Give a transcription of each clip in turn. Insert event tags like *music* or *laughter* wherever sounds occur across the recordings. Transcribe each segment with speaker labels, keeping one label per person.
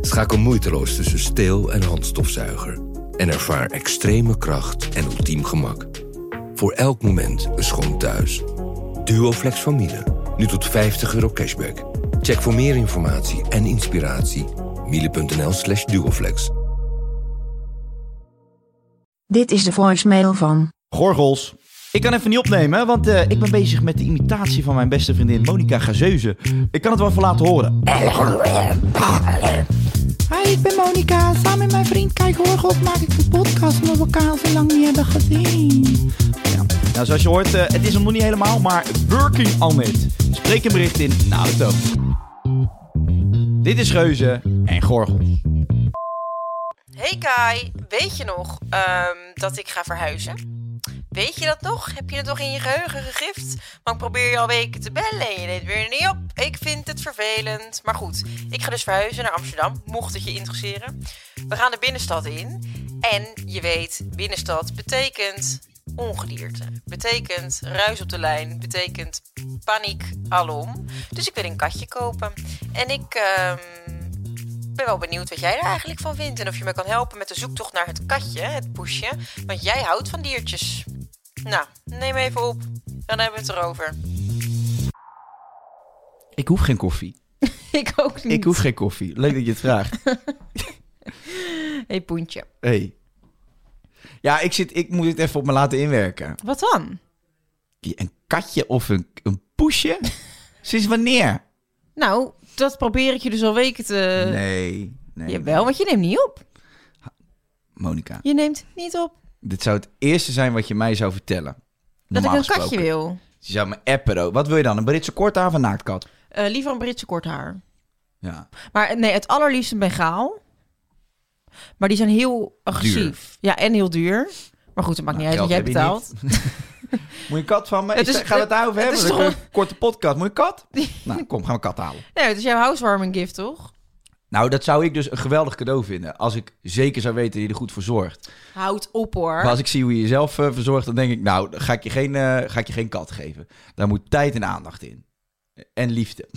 Speaker 1: Schakel moeiteloos tussen steel- en handstofzuiger en ervaar extreme kracht en ultiem gemak. Voor elk moment een schoon thuis. Duoflex van Miele, nu tot 50 euro cashback. Check voor meer informatie en inspiratie miele.nl slash duoflex.
Speaker 2: Dit is de voicemail van.
Speaker 3: Gorgels. Ik kan even niet opnemen, want eh, ik ben bezig met de imitatie van mijn beste vriendin Monica Gazeuze. Ik kan het wel even laten horen.
Speaker 4: Hi, ik ben Monica. Samen met mijn vriend Kijk Horgels maak ik de podcast omdat we elkaar al zo lang niet hebben gezien.
Speaker 3: Nou, zoals je hoort, eh, het is hem nog niet helemaal, maar working on it. Spreek een bericht in na de toon. Dit is Geuze en Gorgels.
Speaker 5: Hey Kai, weet je nog ehm, dat ik ga verhuizen? Weet je dat nog? Heb je het nog in je geheugen gegrift? Maar ik probeer je al weken te bellen en je neemt weer niet op. Ik vind het vervelend. Maar goed, ik ga dus verhuizen naar Amsterdam, mocht het je interesseren. We gaan de binnenstad in. En je weet, binnenstad betekent ongedierte. Betekent ruis op de lijn. Betekent paniek alom. Dus ik wil een katje kopen. En ik... ehm, ik ben wel benieuwd wat jij er eigenlijk van vindt en of je me kan helpen met de zoektocht naar het katje, het poesje. Want jij houdt van diertjes. Nou, neem even op. Dan hebben we het erover.
Speaker 3: Ik hoef geen koffie.
Speaker 5: *laughs* Ik ook niet.
Speaker 3: Ik hoef geen koffie. Leuk dat je het vraagt.
Speaker 5: Hey, Poentje.
Speaker 3: Hey. Ja, ik, zit, ik moet het even op me laten inwerken.
Speaker 5: Wat dan?
Speaker 3: Een katje of een, een
Speaker 5: *laughs*
Speaker 3: poesje? Sinds wanneer?
Speaker 5: Nou, dat probeer ik je dus al weken te...
Speaker 3: nee, nee.
Speaker 5: Jawel, want je neemt niet op.
Speaker 3: Monica,
Speaker 5: Je neemt niet op
Speaker 3: dit zou het eerste zijn wat je mij zou vertellen.
Speaker 5: dat
Speaker 3: Normaal
Speaker 5: ik een
Speaker 3: gesproken.
Speaker 5: katje wil.
Speaker 3: Je zou me appen ook. Wat wil je dan? Een Britse kort aan of een naaktkat?
Speaker 5: Eh, liever een Britse kort haar.
Speaker 3: Ja.
Speaker 5: Maar nee, het allerliefst een Bengaal. Maar die zijn heel agressief. Ja, en heel duur. Maar goed, dat maakt
Speaker 3: Nou,
Speaker 5: niet uit,
Speaker 3: geld
Speaker 5: want jij
Speaker 3: heb je
Speaker 5: betaalt.
Speaker 3: Moet je kat van me? Is
Speaker 5: Het is-
Speaker 3: dat- gaan we het daarover
Speaker 5: het
Speaker 3: hebben?
Speaker 5: is
Speaker 3: Dan
Speaker 5: toch-
Speaker 3: kunnen we een korte podcast. Moet je
Speaker 5: *laughs*
Speaker 3: kat? nou, kom, gaan we kat halen.
Speaker 5: Nee, het is jouw housewarming gift, toch?
Speaker 3: Nou, dat zou ik dus een geweldig cadeau vinden. Als ik zeker zou weten dat je er goed voor zorgt.
Speaker 5: Houd op hoor.
Speaker 3: Maar als ik zie hoe je jezelf eh, verzorgt, dan denk ik... Nou, dan ga ik, je geen, eh, ga ik je geen kat geven. Daar moet tijd en aandacht in. En
Speaker 5: *laughs*
Speaker 3: liefde.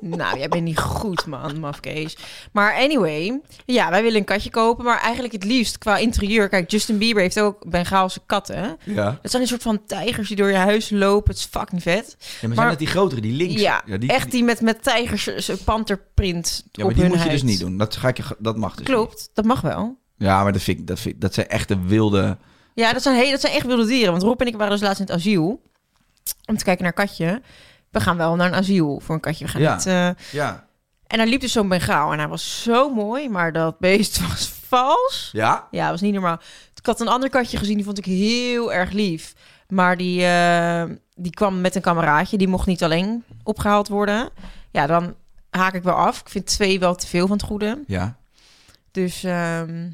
Speaker 5: Nou, jij bent niet goed, man, mafkees. Maar anyway, ja, wij willen een katje kopen, maar eigenlijk het liefst qua interieur. Kijk, Justin Bieber heeft ook Bengaalse katten.
Speaker 3: Ja.
Speaker 5: Dat zijn een soort van tijgers die door je huis lopen. Het is fucking vet.
Speaker 3: maar,
Speaker 5: Maar-
Speaker 3: zijn dat die grotere, die links?
Speaker 5: ja,
Speaker 3: die,
Speaker 5: echt die met, met tijgers, eh, zo'n panterprint
Speaker 3: Ja,
Speaker 5: op
Speaker 3: maar die
Speaker 5: hun
Speaker 3: moet je
Speaker 5: huid.
Speaker 3: dus niet doen. Dat, ga ik je, ge- dat mag dus niet.
Speaker 5: Klopt, dat mag wel.
Speaker 3: Ja, maar dat, vind ik, dat, vind ik- dat zijn echt de wilde...
Speaker 5: Ja, dat zijn, hele, dat zijn echt wilde dieren. Want Rob en ik waren dus laatst in het asiel. Om te kijken naar een katje. We gaan wel naar een asiel voor een katje. We gaan
Speaker 3: Ja.
Speaker 5: niet... eh,
Speaker 3: Ja.
Speaker 5: En daar liep dus zo'n Bengaal en hij was zo mooi, maar dat beest *laughs* was vals.
Speaker 3: Ja?
Speaker 5: Ja, was niet normaal. Ik had een ander katje gezien, die vond ik heel erg lief. Maar die, eh, die kwam met een kameraadje, die mocht niet alleen opgehaald worden. Ja, dan haak ik wel af. Ik vind twee wel te veel van het goede.
Speaker 3: Ja.
Speaker 5: Dus ehm,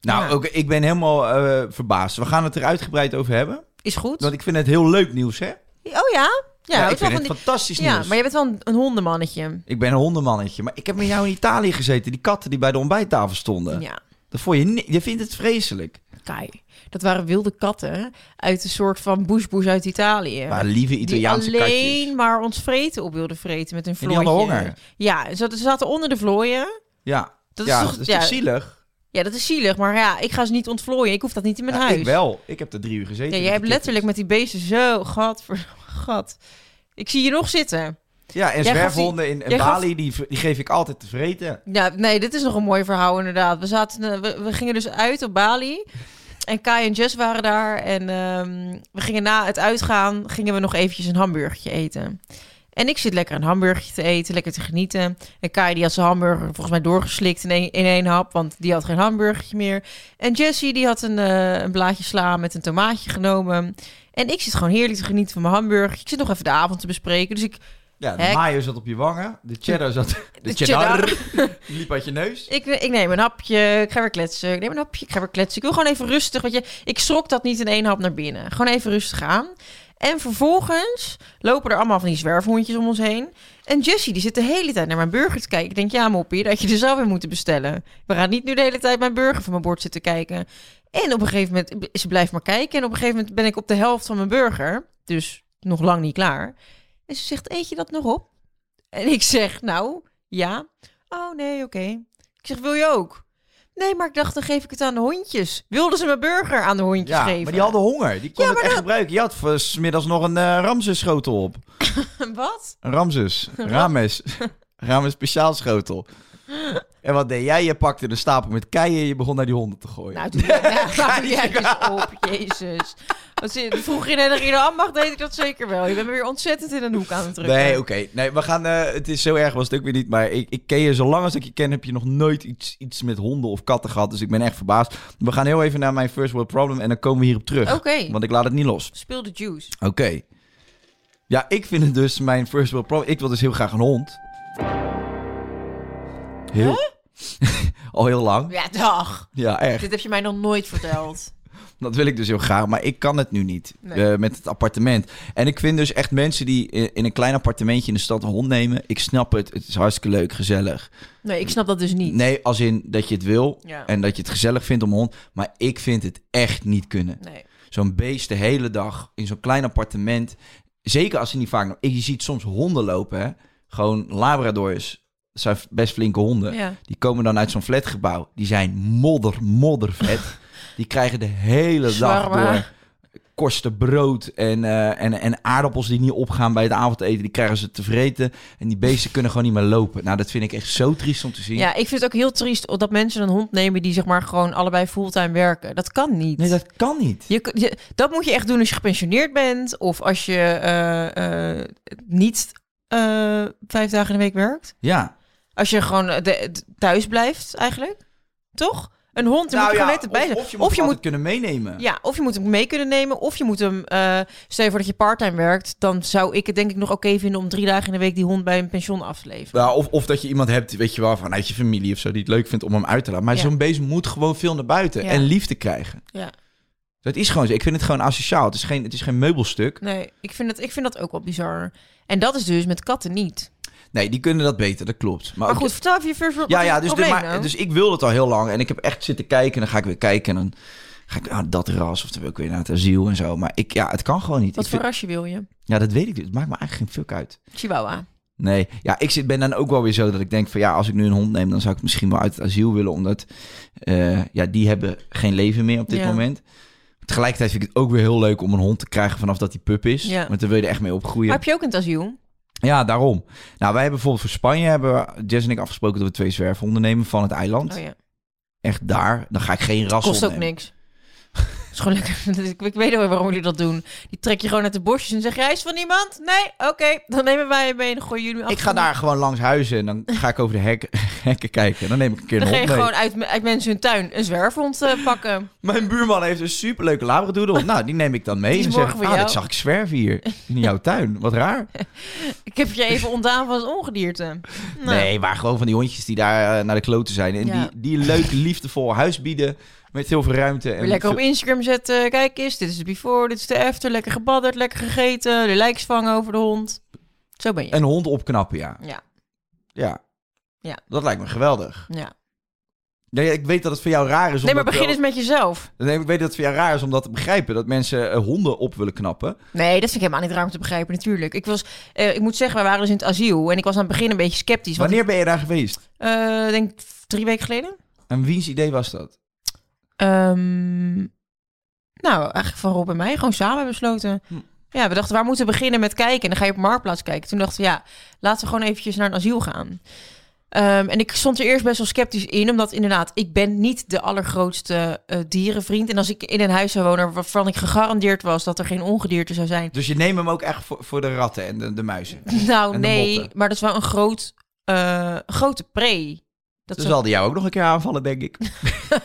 Speaker 3: Nou,
Speaker 5: Ja.
Speaker 3: ook, ik ben helemaal eh, verbaasd. We gaan het er uitgebreid over hebben.
Speaker 5: is goed.
Speaker 3: Want ik vind het heel leuk nieuws, hè? Ja,
Speaker 5: Oh ja? Ja, houdt
Speaker 3: ik
Speaker 5: wel
Speaker 3: vind het
Speaker 5: van die-
Speaker 3: fantastisch
Speaker 5: ja
Speaker 3: nieuws.
Speaker 5: maar je bent wel een, een hondenmannetje.
Speaker 3: Ik ben een hondenmannetje. Maar ik heb met jou in Italië gezeten. Die katten die bij de ontbijttafel stonden.
Speaker 5: Ja.
Speaker 3: Dat vond je ni- Je vindt het vreselijk.
Speaker 5: Kai, dat waren wilde katten uit een soort van bushbush uit Italië.
Speaker 3: Maar lieve Italiaanse
Speaker 5: die alleen
Speaker 3: katjes.
Speaker 5: maar ons vreten op wilden vreten met hun
Speaker 3: En
Speaker 5: vlooien.
Speaker 3: die hadden honger.
Speaker 5: Ja, ze, ze zaten onder de vlooien.
Speaker 3: Ja,
Speaker 5: Dat
Speaker 3: ja,
Speaker 5: is toch,
Speaker 3: dat is
Speaker 5: ja,
Speaker 3: toch zielig?
Speaker 5: ja, dat is zielig. Maar ja, ik ga ze niet ontvlooien. Ik hoef dat niet in mijn
Speaker 3: Ja,
Speaker 5: huis.
Speaker 3: ik wel. Ik heb er drie uur gezeten.
Speaker 5: Ja,
Speaker 3: met
Speaker 5: jij
Speaker 3: die
Speaker 5: hebt letterlijk met die beesten zo... Gat, voor *laughs* gat. Ik zie je nog zitten.
Speaker 3: kittens. Ja, en
Speaker 5: jij gaf die-
Speaker 3: zwerfhonden in, in
Speaker 5: jij gaf-
Speaker 3: Bali, die, v- die geef ik altijd te vreten.
Speaker 5: Ja, nee, dit is nog een mooi verhaal inderdaad. We, zaten, eh, we, we gingen dus uit op Bali. En Kai en Jess waren daar. En ehm, we gingen na het uitgaan, gingen we nog eventjes een hamburgertje eten. En ik zit lekker een hamburgertje te eten, lekker te genieten. En Kai die had zijn hamburger volgens mij doorgeslikt in één, in één hap, want die had geen hamburgertje meer. En Jessie die had een, eh, een blaadje sla met een tomaatje genomen. En ik zit gewoon heerlijk te genieten van mijn hamburger. Ik zit nog even de avond te bespreken, dus ik...
Speaker 3: Ja, de
Speaker 5: Hek.
Speaker 3: mayo zat op je wangen. De cheddar zat... De, *laughs*
Speaker 5: *laughs*
Speaker 3: die liep uit je neus.
Speaker 5: Dus Ik, ik neem een hapje, ik ga weer kletsen. Ik neem een hapje, ik ga weer kletsen. Ik wil gewoon even rustig, want je, ik schrok dat niet in één hap naar binnen. Gewoon even rustig aan. En vervolgens lopen er allemaal van die zwerfhondjes om ons heen. En Jessie, die zit de hele tijd naar mijn burger te kijken. Ik denk, ja moppie, dat had je er zelf weer moeten bestellen. We gaan niet nu de hele tijd mijn burger van mijn bord zitten kijken. En op een gegeven moment, ze blijft maar kijken. En op een gegeven moment ben ik op de helft van mijn burger. Dus nog lang niet klaar. En ze zegt, eet je dat nog op? En ik zeg, nou, ja. Oh nee, oké. Ik zeg, wil je ook? Nee, maar ik dacht, dan geef ik het aan de hondjes. Wilden ze mijn burger aan de hondjes
Speaker 3: Ja,
Speaker 5: geven?
Speaker 3: maar die hadden honger. Die kon
Speaker 5: Ja,
Speaker 3: het
Speaker 5: maar
Speaker 3: echt gebruiken. Je had voor 's middags nog een eh Ramses schotel op.
Speaker 5: *laughs* Wat?
Speaker 3: Een
Speaker 5: *laughs*
Speaker 3: Ramses. Rames. Rames speciaal schotel. En wat deed jij? Je pakte de stapel met keien en je begon naar die honden te gooien.
Speaker 5: Nou, toen
Speaker 3: *laughs*
Speaker 5: ja, hou jij dus op, jezus. Als je, vroeger in de in de ambacht deed ik dat zeker wel. Je bent me weer ontzettend in een hoek aan het drukken.
Speaker 3: Nee, oké. Nee, we gaan. eh, het is zo erg, was het ook weer niet. Maar ik, ik ken je, zolang als ik je ken, heb je nog nooit iets, iets met honden of katten gehad. Dus ik ben echt verbaasd. We gaan heel even naar mijn first world problem en dan komen we hierop terug.
Speaker 5: Oké.
Speaker 3: Want ik laat het niet los.
Speaker 5: Speel de juice.
Speaker 3: Oké. Ja, ik vind het dus mijn first world problem. Ik wil dus heel graag een hond. Heel. *laughs* Al heel lang.
Speaker 5: Ja, dag.
Speaker 3: Ja, echt.
Speaker 5: Dit heb je mij nog nooit verteld.
Speaker 3: Dat wil ik dus heel graag, maar ik kan het nu niet
Speaker 5: Nee.
Speaker 3: eh, met het appartement. En ik vind dus echt mensen die in, in een klein appartementje in de stad een hond nemen. Ik snap het, het is hartstikke leuk, gezellig.
Speaker 5: Nee, ik snap dat dus niet.
Speaker 3: Nee, als in dat je het wil
Speaker 5: Ja.
Speaker 3: en dat je het gezellig vindt om een hond. Maar ik vind het echt niet kunnen.
Speaker 5: Nee.
Speaker 3: Zo'n beest de hele dag in zo'n klein appartement. Zeker als je niet vaak... Je ziet soms honden lopen, hè. Gewoon labradors. Dat zijn best flinke honden.
Speaker 5: Ja.
Speaker 3: Die komen dan uit zo'n flatgebouw. Die zijn modder,
Speaker 5: *laughs*
Speaker 3: moddervet. Die krijgen de hele dag
Speaker 5: Shawarma.
Speaker 3: door korsten brood en, eh, en, en aardappels die niet opgaan bij het avondeten. Die krijgen ze te vreten. En die beesten kunnen gewoon niet meer lopen. Nou, dat vind ik echt zo triest om te zien.
Speaker 5: Ja, ik vind het ook heel triest dat mensen een hond nemen die zeg maar gewoon allebei fulltime werken. Dat kan niet.
Speaker 3: Nee, dat kan niet.
Speaker 5: Je, kun- je- dat moet je echt doen als je gepensioneerd bent of als je eh, eh, niet eh, vijf dagen in de week werkt.
Speaker 3: Ja.
Speaker 5: Als je gewoon eh, de- de- thuis blijft eigenlijk, toch? Een hond, daar moet je gewoon net bij zijn.
Speaker 3: Nou of, je moet,
Speaker 5: of je moet
Speaker 3: kunnen meenemen.
Speaker 5: ja, of je moet hem mee kunnen nemen, of je moet hem. eh stel je voor dat je parttime werkt, dan zou ik het denk ik nog oké vinden om drie dagen in de week die hond bij een pension af te leveren.
Speaker 3: Nou, of, of dat je iemand hebt, weet je wel, vanuit je familie of zo, die het leuk vindt om hem uit te laten. Maar
Speaker 5: Ja.
Speaker 3: zo'n beest moet gewoon veel naar buiten
Speaker 5: Ja.
Speaker 3: en liefde krijgen.
Speaker 5: Ja.
Speaker 3: Dat is gewoon zo. Ik vind het gewoon asociaal. Het is geen, het is geen meubelstuk.
Speaker 5: Nee, ik vind, dat, ik vind dat ook wel bizar. En dat is dus met katten niet.
Speaker 3: Oh, Nee, die kunnen dat beter, dat klopt. Maar,
Speaker 5: Maar
Speaker 3: ook-
Speaker 5: goed, vertel even je first world
Speaker 3: Ja, ja dus,
Speaker 5: probleem
Speaker 3: maar-
Speaker 5: nou.
Speaker 3: dus ik wilde het al heel lang. En ik heb echt zitten kijken. En dan ga ik weer kijken. En dan ga ik ah, dat ras. Of dan wil ik weer naar het asiel en zo. Maar ik, ja, het kan gewoon niet.
Speaker 5: Wat
Speaker 3: Ik
Speaker 5: voor
Speaker 3: vind-
Speaker 5: rasje wil je?
Speaker 3: ja, dat weet ik. dus. Het maakt me eigenlijk geen fuck uit.
Speaker 5: Chihuahua.
Speaker 3: Nee, ja, ik zit, ben dan ook wel weer zo dat ik denk van ja, als ik nu een hond neem, dan zou ik het misschien wel uit het asiel willen, omdat eh, ja, die hebben geen leven meer op dit
Speaker 5: Ja.
Speaker 3: moment. Tegelijkertijd vind ik het ook weer heel leuk om een hond te krijgen vanaf dat hij pup is,
Speaker 5: Ja.
Speaker 3: want dan wil je er echt mee opgroeien.
Speaker 5: Maar heb je ook in het asiel?
Speaker 3: Ja, daarom. Nou, wij hebben bijvoorbeeld voor Spanje hebben we- Jess en ik afgesproken dat we twee zwerfhonden nemen van het eiland.
Speaker 5: Oh ja.
Speaker 3: Echt daar, dan ga ik geen ras
Speaker 5: Kost ook
Speaker 3: opnemen.
Speaker 5: niks. *laughs* is gewoon lekker. *laughs* Dus Ik, ik weet wel waarom jullie dat doen. Die trek je gewoon uit de bosjes en zeg jij is van iemand? Nee, oké. Dan nemen wij hem mee en dan gooien jullie af.
Speaker 3: Ik ga daar gewoon langs huizen en
Speaker 5: *laughs*
Speaker 3: dan ga ik over de hek, *laughs* hekken kijken. Dan neem ik een keer
Speaker 5: Dan
Speaker 3: een
Speaker 5: ga
Speaker 3: hond
Speaker 5: je
Speaker 3: mee.
Speaker 5: gewoon uit, uit mensen hun tuin een zwerfhond eh, pakken.
Speaker 3: Mijn buurman heeft een superleuke
Speaker 5: *laughs*
Speaker 3: labradoodle. Nou, die neem ik dan mee.
Speaker 5: Die is
Speaker 3: en zeg
Speaker 5: morgen
Speaker 3: ik,
Speaker 5: voor
Speaker 3: ah,
Speaker 5: jou."
Speaker 3: dat zag ik zwerven hier in
Speaker 5: *laughs*
Speaker 3: jouw tuin. Wat raar.
Speaker 5: Ik heb je
Speaker 3: *laughs*
Speaker 5: even ontdaan van het ongedierte. Nou,
Speaker 3: Nee, maar gewoon van die hondjes die daar eh, naar de kloten zijn. En
Speaker 5: Ja.
Speaker 3: die, die leuk, liefdevol huis bieden met heel veel ruimte. En
Speaker 5: Weer lekker op
Speaker 3: veel-
Speaker 5: Instagram zetten. Kijk eens, dit is de before, dit is de after. Lekker gebadderd, lekker gegeten. De lijks vangen over de hond. Zo ben je.
Speaker 3: Een hond opknappen, ja.
Speaker 5: Ja,
Speaker 3: ja.
Speaker 5: Ja.
Speaker 3: Dat lijkt me geweldig.
Speaker 5: ja.
Speaker 3: Nee, ik weet dat het voor jou raar is om
Speaker 5: Nee, maar
Speaker 3: dat
Speaker 5: begin
Speaker 3: wel-
Speaker 5: eens met jezelf.
Speaker 3: Nee, ik weet dat het voor jou raar is om dat te begrijpen. Dat mensen eh, honden op willen knappen.
Speaker 5: Nee, dat vind ik helemaal niet raar om te begrijpen, natuurlijk. Ik, was, eh, ik moet zeggen, wij waren dus in het asiel. En ik was aan het begin een beetje sceptisch. Want
Speaker 3: Wanneer ben je daar geweest?
Speaker 5: ik eh, denk drie weken geleden.
Speaker 3: En wiens idee was dat?
Speaker 5: Ehm, nou, eigenlijk van Rob en mij gewoon samen besloten.
Speaker 3: Hm.
Speaker 5: Ja, we dachten, waar moeten we beginnen met kijken? En dan ga je op Marktplaats kijken. Toen dachten we, ja, laten we gewoon eventjes naar een asiel gaan. Ehm, en ik stond er eerst best wel sceptisch in, omdat inderdaad, ik ben niet de allergrootste eh, dierenvriend. En als ik in een huis zou wonen waarvan ik gegarandeerd was dat er geen ongedierte zou zijn. *laughs*
Speaker 3: Dus je neemt hem ook echt voor, voor de ratten en de, de muizen.
Speaker 5: Nou,
Speaker 3: En de
Speaker 5: nee,
Speaker 3: motten.
Speaker 5: maar dat is wel een groot, eh, grote pre. Dat
Speaker 3: Dus
Speaker 5: zou-
Speaker 3: zal die jou ook nog een keer aanvallen, denk ik.
Speaker 5: *laughs*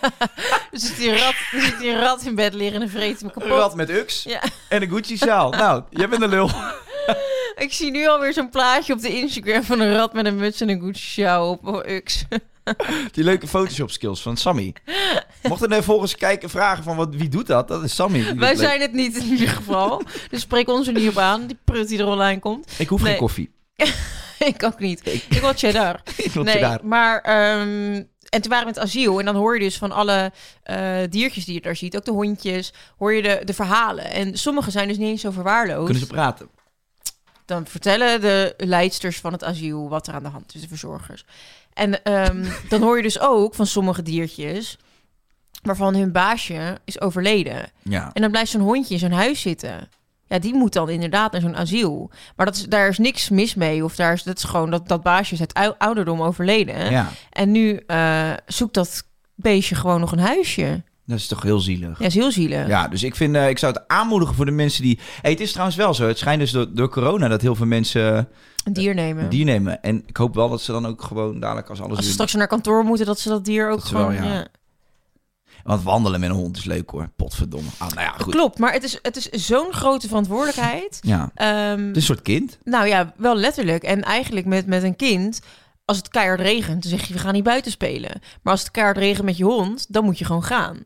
Speaker 5: er, zit die rat, er zit die rat in bed liggen en vreet me
Speaker 3: Een
Speaker 5: kapot.
Speaker 3: rat met uks
Speaker 5: Ja.
Speaker 3: en een
Speaker 5: *laughs*
Speaker 3: Gucci-zaal. nou, jij bent een lul.
Speaker 5: Ik zie nu alweer zo'n plaatje op de Instagram van een rat met een muts en een Gucci sjaal op. Oh, uks.
Speaker 3: Die leuke Photoshop skills van Sammy. Mochten er volgens kijken vragen van wat, wie doet dat? Dat is Sammy. Die doet
Speaker 5: *laughs* Wij
Speaker 3: leuk.
Speaker 5: zijn het niet in ieder geval. Dus spreek ons er niet op aan, die prut die er online komt. *laughs*
Speaker 3: Ik hoef
Speaker 5: Nee.
Speaker 3: geen koffie. *laughs*
Speaker 5: ik ook niet. Ik wil cheddar.
Speaker 3: Ik wil
Speaker 5: nee,
Speaker 3: je daar.
Speaker 5: maar... ehm, en toen waren we in het asiel en dan hoor je dus van alle eh, diertjes die je daar ziet, ook de hondjes, hoor je de, de verhalen. En sommige zijn dus niet eens zo verwaarloosd.
Speaker 3: Kunnen ze praten?
Speaker 5: dan vertellen de leidsters van het asiel wat er aan de hand is, de verzorgers. En ehm,
Speaker 3: *laughs*
Speaker 5: dan hoor je dus ook van sommige diertjes waarvan hun baasje is overleden.
Speaker 3: Ja.
Speaker 5: En dan blijft zo'n hondje in zo'n huis zitten. Ja, die moet dan inderdaad naar zo'n asiel. Maar dat is, daar is niks mis mee. Of daar is, dat is gewoon dat, dat baasje is uit ou- ouderdom overleden.
Speaker 3: ja.
Speaker 5: En nu eh, zoekt dat beestje gewoon nog een huisje.
Speaker 3: Dat is toch heel zielig.
Speaker 5: Ja, is heel zielig.
Speaker 3: Ja, dus ik, vind, eh, ik zou het aanmoedigen voor de mensen die... Hey, het is trouwens wel zo. Het schijnt dus door, door corona dat heel veel mensen
Speaker 5: Een dier nemen.
Speaker 3: een dier nemen. En ik hoop wel dat ze dan ook gewoon dadelijk als alles...
Speaker 5: Als ze
Speaker 3: weer-
Speaker 5: straks naar kantoor moeten, dat ze dat dier ook
Speaker 3: Dat is wel,
Speaker 5: gewoon...
Speaker 3: ja.
Speaker 5: ja.
Speaker 3: Want wandelen met een hond is leuk hoor. Potverdomme. Ah, nou ja, goed.
Speaker 5: Klopt, maar het is, het is zo'n grote verantwoordelijkheid.
Speaker 3: Ja. Het
Speaker 5: Ehm,
Speaker 3: is een soort kind.
Speaker 5: Nou ja, wel letterlijk. En eigenlijk met, met een kind, als het keihard regent, dan zeg je we gaan niet buiten spelen. Maar als het keihard regent met je hond, dan moet je gewoon gaan.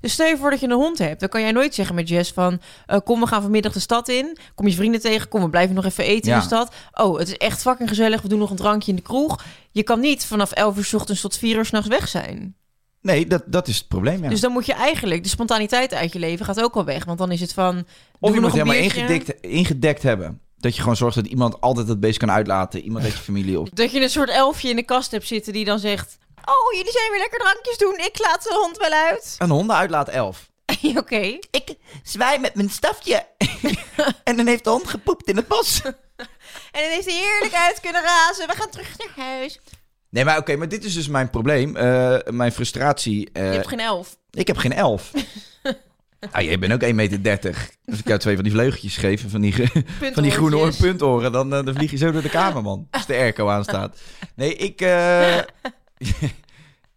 Speaker 5: Dus stel je voor dat je een hond hebt, dan kan jij nooit zeggen met Jess van... eh, kom, we gaan vanmiddag de stad in. Kom je vrienden tegen, kom, we blijven nog even eten in
Speaker 3: Ja.
Speaker 5: de stad. Oh, het is echt fucking gezellig, we doen nog een drankje in de kroeg. Je kan niet vanaf 11 uur 's ochtends tot 4 uur 's nachts weg zijn.
Speaker 3: Nee, dat, dat is het probleem. Ja.
Speaker 5: Dus dan moet je eigenlijk, de spontaniteit uit je leven gaat ook al weg. Want dan is het van...
Speaker 3: Of je
Speaker 5: nog
Speaker 3: moet
Speaker 5: een
Speaker 3: helemaal
Speaker 5: biertje.
Speaker 3: ingedekt, ingedekt hebben. Dat je gewoon zorgt dat iemand altijd dat beest kan uitlaten. Iemand uit je familie of...
Speaker 5: Dat je een soort elfje in de kast hebt zitten die dan zegt... Oh, jullie zijn weer lekker drankjes doen. Ik laat de hond wel *laughs* uit.
Speaker 3: Een honden uitlaat elf.
Speaker 5: Oké.
Speaker 3: Ik zwaai met mijn
Speaker 5: *laughs*
Speaker 3: stafje. en dan heeft de hond gepoept in het bos.
Speaker 5: En dan heeft hij heerlijk uit kunnen razen. We gaan terug naar huis.
Speaker 3: Nee, maar oké, maar dit is dus mijn probleem. eh, mijn frustratie. eh,
Speaker 5: Je hebt geen elf.
Speaker 3: Ik heb geen
Speaker 5: *laughs*
Speaker 3: elf. nou, jij bent ook 1,30 meter. Als ik jou twee van die vleugeltjes geef en van die, ge- *laughs* van die groene oor-
Speaker 5: Puntoortjes.
Speaker 3: puntoren, dan, eh, dan vlieg je zo door de kamer,
Speaker 5: *laughs*
Speaker 3: man. Als de airco aanstaat. Nee, ik... eh, *laughs*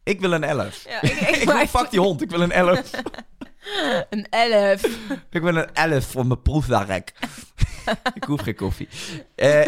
Speaker 3: ik wil een elf.
Speaker 5: Ja, ik,
Speaker 3: *laughs*
Speaker 5: ik,
Speaker 3: Ik wil, fuck die hond, ik wil een elf.
Speaker 5: Een elf.
Speaker 3: Ik ben een elf voor mijn proefwerk. *laughs* ik hoef geen koffie. Eh,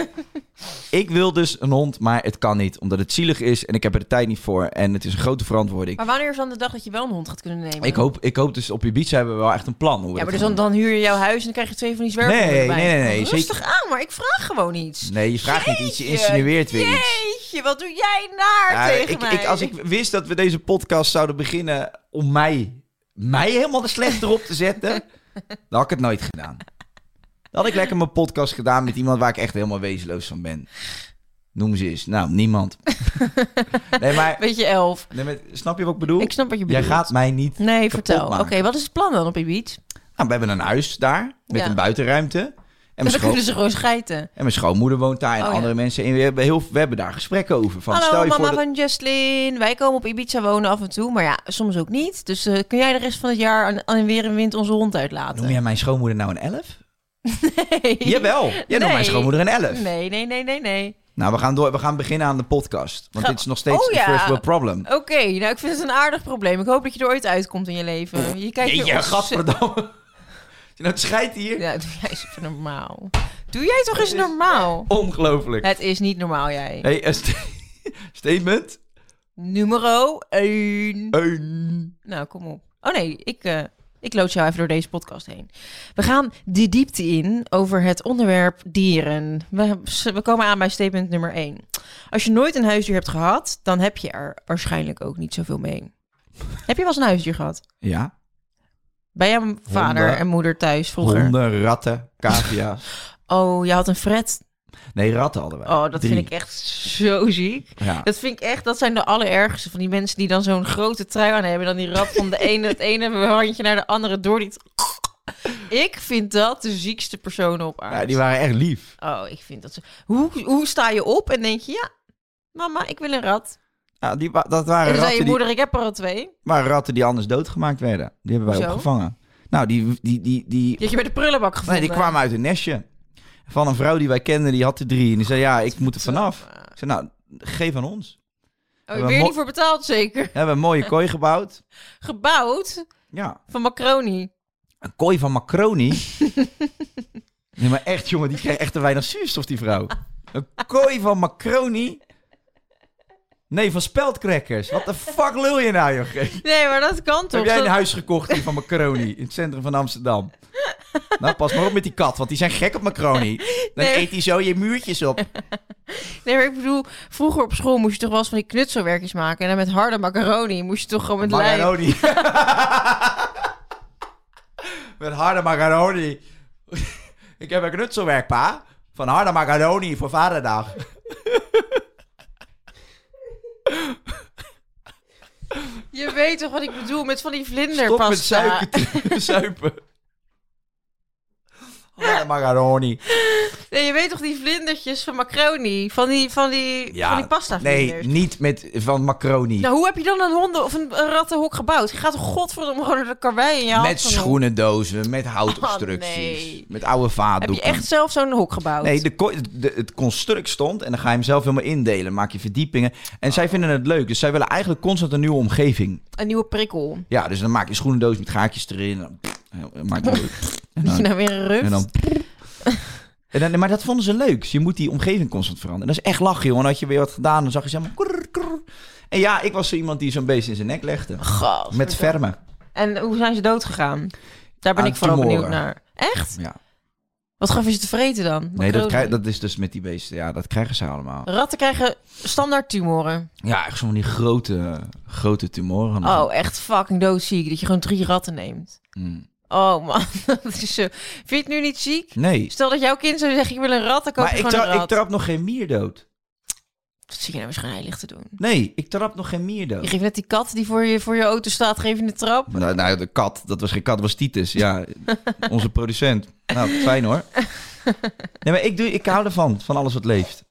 Speaker 3: ik wil dus een hond, maar het kan niet. Omdat het zielig is en ik heb er de tijd niet voor. En het is een grote verantwoording.
Speaker 5: Maar wanneer is dan de dag dat je wel een hond gaat kunnen nemen?
Speaker 3: Ik hoop, ik hoop dus op Ibiza hebben we wel echt een plan. Hoe we
Speaker 5: Ja, maar
Speaker 3: dat
Speaker 5: dus dan,
Speaker 3: gaan
Speaker 5: dan huur je jouw huis en dan krijg je twee van die zwerven
Speaker 3: Nee,
Speaker 5: erbij.
Speaker 3: nee, nee, nee,
Speaker 5: Rustig aan, maar ik vraag gewoon iets.
Speaker 3: doen. Nee, je vraagt niet iets, je insinueert weer iets.
Speaker 5: Jeetje, wat doe jij naar
Speaker 3: Ja,
Speaker 5: tegen
Speaker 3: ik,
Speaker 5: mij?
Speaker 3: ik, als ik wist dat we deze podcast zouden beginnen om mij, mij helemaal de slechter op te zetten, dan had ik het nooit gedaan. Dan had ik lekker mijn podcast gedaan met iemand waar ik echt helemaal wezenloos van ben. Noem ze eens. Nou,
Speaker 5: *laughs*
Speaker 3: niemand. nee, maar,
Speaker 5: Beetje elf.
Speaker 3: nee, maar snap je wat ik bedoel?
Speaker 5: Ik snap wat je
Speaker 3: Jij
Speaker 5: bedoelt.
Speaker 3: gaat mij niet...
Speaker 5: Nee, vertel. Oké,
Speaker 3: maken.
Speaker 5: wat is het plan dan op Ibiza?
Speaker 3: Nou, we hebben een huis daar, met
Speaker 5: Ja.
Speaker 3: een buitenruimte. En mijn,
Speaker 5: En *laughs* dan
Speaker 3: scho-
Speaker 5: kunnen ze gewoon scheiden.
Speaker 3: en mijn schoonmoeder woont daar en
Speaker 5: dus- Oh, ja.
Speaker 3: andere mensen. En we hebben, heel, we hebben daar gesprekken over. Van, stel
Speaker 5: Hallo
Speaker 3: je
Speaker 5: mama
Speaker 3: voor dat...
Speaker 5: van Jesslyn. Wij komen op Ibiza wonen af en toe, maar ja, soms ook niet. Dus eh, kun jij de rest van het jaar aan, aan weer en wind onze hond uitlaten?
Speaker 3: Noem jij mijn schoonmoeder nou een elf?
Speaker 5: *laughs* Nee.
Speaker 3: Jawel, jij noemt
Speaker 5: Nee.
Speaker 3: mijn schoonmoeder een elf.
Speaker 5: Nee, nee, nee, nee, nee.
Speaker 3: Nou, we gaan, door, we gaan beginnen aan de podcast. Want
Speaker 5: Ga-
Speaker 3: dit is nog steeds
Speaker 5: Oh,
Speaker 3: een
Speaker 5: ja.
Speaker 3: first world
Speaker 5: *laughs*
Speaker 3: problem.
Speaker 5: Oké, nou ik vind het een aardig probleem. Ik hoop dat je er ooit uitkomt in je leven. Je kijkt
Speaker 3: Jeetje,
Speaker 5: er ontzettend-
Speaker 3: gadverdamme. *laughs* Als je nou het scheidt hier.
Speaker 5: Ja, *laughs* doe jij eens even normaal. Doe jij toch eens normaal?
Speaker 3: Ongelooflijk.
Speaker 5: Het is niet normaal, jij.
Speaker 3: Hey, eh, st- *laughs* statement.
Speaker 5: Numero 1.
Speaker 3: Eh. Een.
Speaker 5: Nou, kom op. Oh nee, ik, eh ik lood jou even door deze podcast heen. We gaan de diepte in over het onderwerp dieren. We, we komen aan bij statement nummer 1. Als je nooit een huisdier hebt gehad, dan heb je er waarschijnlijk ook niet zoveel mee. Heb je wel eens een huisdier gehad?
Speaker 3: Ja,
Speaker 5: Bij jouw vader
Speaker 3: Honden.
Speaker 5: en moeder thuis vroeger?
Speaker 3: honden, ratten, cavia's.
Speaker 5: Oh, je had een fret.
Speaker 3: *laughs* Nee, ratten hadden wij.
Speaker 5: Oh, dat
Speaker 3: Drie.
Speaker 5: vind ik echt zo ziek.
Speaker 3: Ja.
Speaker 5: Dat vind ik echt, dat zijn de allerergste van die mensen die dan zo'n grote trui aan hebben. Dan die rap
Speaker 3: *laughs*
Speaker 5: van de ene, het ene handje naar de andere door die... Ik vind dat de ziekste personen op aarde.
Speaker 3: Ja, die waren echt lief.
Speaker 5: Oh, ik vind dat ze... Hoe, hoe sta je op en denk je, ja, Mama, ik wil een rat.
Speaker 3: Ja, die, wa- dat
Speaker 5: En
Speaker 3: waren
Speaker 5: toen zei
Speaker 3: ratten
Speaker 5: je
Speaker 3: die,
Speaker 5: moeder, ik heb er al twee.
Speaker 3: waren ratten die anders doodgemaakt werden. Die hebben wij
Speaker 5: Hoezo?
Speaker 3: opgevangen. Nou, die, die, die, die,
Speaker 5: Die had je bij de prullenbak gevonden.
Speaker 3: nee, die kwamen uit een nestje. Van een vrouw die wij kenden, die had er drie. En die zei, ja, ik moet er vanaf. Ik zei, nou, geef aan ons.
Speaker 5: eh. Oh,
Speaker 3: We
Speaker 5: weer
Speaker 3: mo-
Speaker 5: niet voor betaald zeker.
Speaker 3: We hebben een
Speaker 5: *laughs*
Speaker 3: mooie kooi gebouwd.
Speaker 5: Gebouwd
Speaker 3: Ja,
Speaker 5: van macaroni.
Speaker 3: een kooi van macaroni.
Speaker 5: *laughs*
Speaker 3: nee, maar echt, jongen, die kreeg echt te weinig zuurstof, die vrouw. Een kooi van macaroni? Nee, van speldcrackers. Wat de fuck lul je nou, joh? Gees?
Speaker 5: Nee, maar dat kan toch?
Speaker 3: Heb jij een
Speaker 5: Dat-
Speaker 3: huis gekocht hier van macaroni in het centrum van Amsterdam? Nou, pas maar op met die kat, want die zijn gek op macaroni. Dan
Speaker 5: Nee.
Speaker 3: eet hij zo je muurtjes op.
Speaker 5: Nee, maar ik bedoel, vroeger op school moest je toch wel eens van die knutselwerkjes maken. En dan met harde macaroni moest je toch gewoon met lijm.
Speaker 3: Macaroni. *laughs* Met harde macaroni. Ik heb een knutselwerk, pa. Van harde macaroni voor vaderdag.
Speaker 5: Je weet toch wat ik bedoel, met van die
Speaker 3: Stop met
Speaker 5: vlinderpasta.
Speaker 3: suiken.
Speaker 5: *laughs*
Speaker 3: te- suipen. Harde macaroni.
Speaker 5: Nee, je weet toch die vlindertjes van macaroni? Van die, van die, van die pasta
Speaker 3: nee, niet met van macaroni.
Speaker 5: Nou, hoe heb je dan een honden- of een een rattenhok gebouwd? Je gaat toch godverdomme gewoon naar de karwei in je hand
Speaker 3: met
Speaker 5: van een hok?
Speaker 3: schoenendozen, met houtobstructies,
Speaker 5: Ah, nee.
Speaker 3: met oude
Speaker 5: Heb
Speaker 3: vaatdoeken.
Speaker 5: je echt zelf zo'n hok gebouwd?
Speaker 3: Nee, de, ko- de- het construct stond en dan ga je hem zelf helemaal indelen. Maak je verdiepingen. En zij vinden het leuk, dus zij willen eigenlijk constant een nieuwe omgeving.
Speaker 5: Een nieuwe prikkel.
Speaker 3: Ja, dus dan maak je schoenendoos met gaatjes erin. En dan, en maak je en
Speaker 5: *laughs* Dat je
Speaker 3: dan,
Speaker 5: nou weer een rust.
Speaker 3: en dan, en dan- maar dat vonden ze leuk. Dus je moet die omgeving constant veranderen. Dat is echt lachen, jongen. Had je weer wat gedaan, dan zag je ze helemaal... krrr, krrr. En ja, ik was zo iemand die zo'n beest in zijn nek legde.
Speaker 5: Gast.
Speaker 3: Met vermen.
Speaker 5: En hoe zijn ze dood gegaan? Daar ben
Speaker 3: Aan
Speaker 5: ik vooral
Speaker 3: tumoren.
Speaker 5: benieuwd naar. Echt?
Speaker 3: Ja.
Speaker 5: Wat gaf je ze te vreten dan?
Speaker 3: Nee, dat,
Speaker 5: Macaroni?
Speaker 3: krijg, dat is dus met die beesten. Ja, dat krijgen ze allemaal.
Speaker 5: Ratten krijgen standaard tumoren.
Speaker 3: Ja, echt zo'n van die grote, grote tumoren.
Speaker 5: Oh, echt fucking doodziek. Dat je gewoon drie ratten neemt.
Speaker 3: Mm.
Speaker 5: Oh man, *laughs* dat is zo. Vind je het nu niet ziek?
Speaker 3: Nee.
Speaker 5: Stel dat jouw kind zou zeggen, ik wil een rat, dan koop
Speaker 3: Maar
Speaker 5: je
Speaker 3: ik,
Speaker 5: gewoon
Speaker 3: tra-
Speaker 5: een
Speaker 3: ik
Speaker 5: rat.
Speaker 3: trap nog geen mier dood.
Speaker 5: Dat zie je nou waarschijnlijk heilig te doen.
Speaker 3: Nee, ik trap nog geen mier
Speaker 5: Je
Speaker 3: dood.
Speaker 5: geeft net die kat die voor je, voor je auto staat, geef je een trap.
Speaker 3: Nou, nou, de kat, dat was geen kat, dat was Titus.
Speaker 5: *laughs*
Speaker 3: Ja, onze producent. Nou, fijn hoor. Nee, maar ik, doe, ik hou ervan, van alles wat leeft.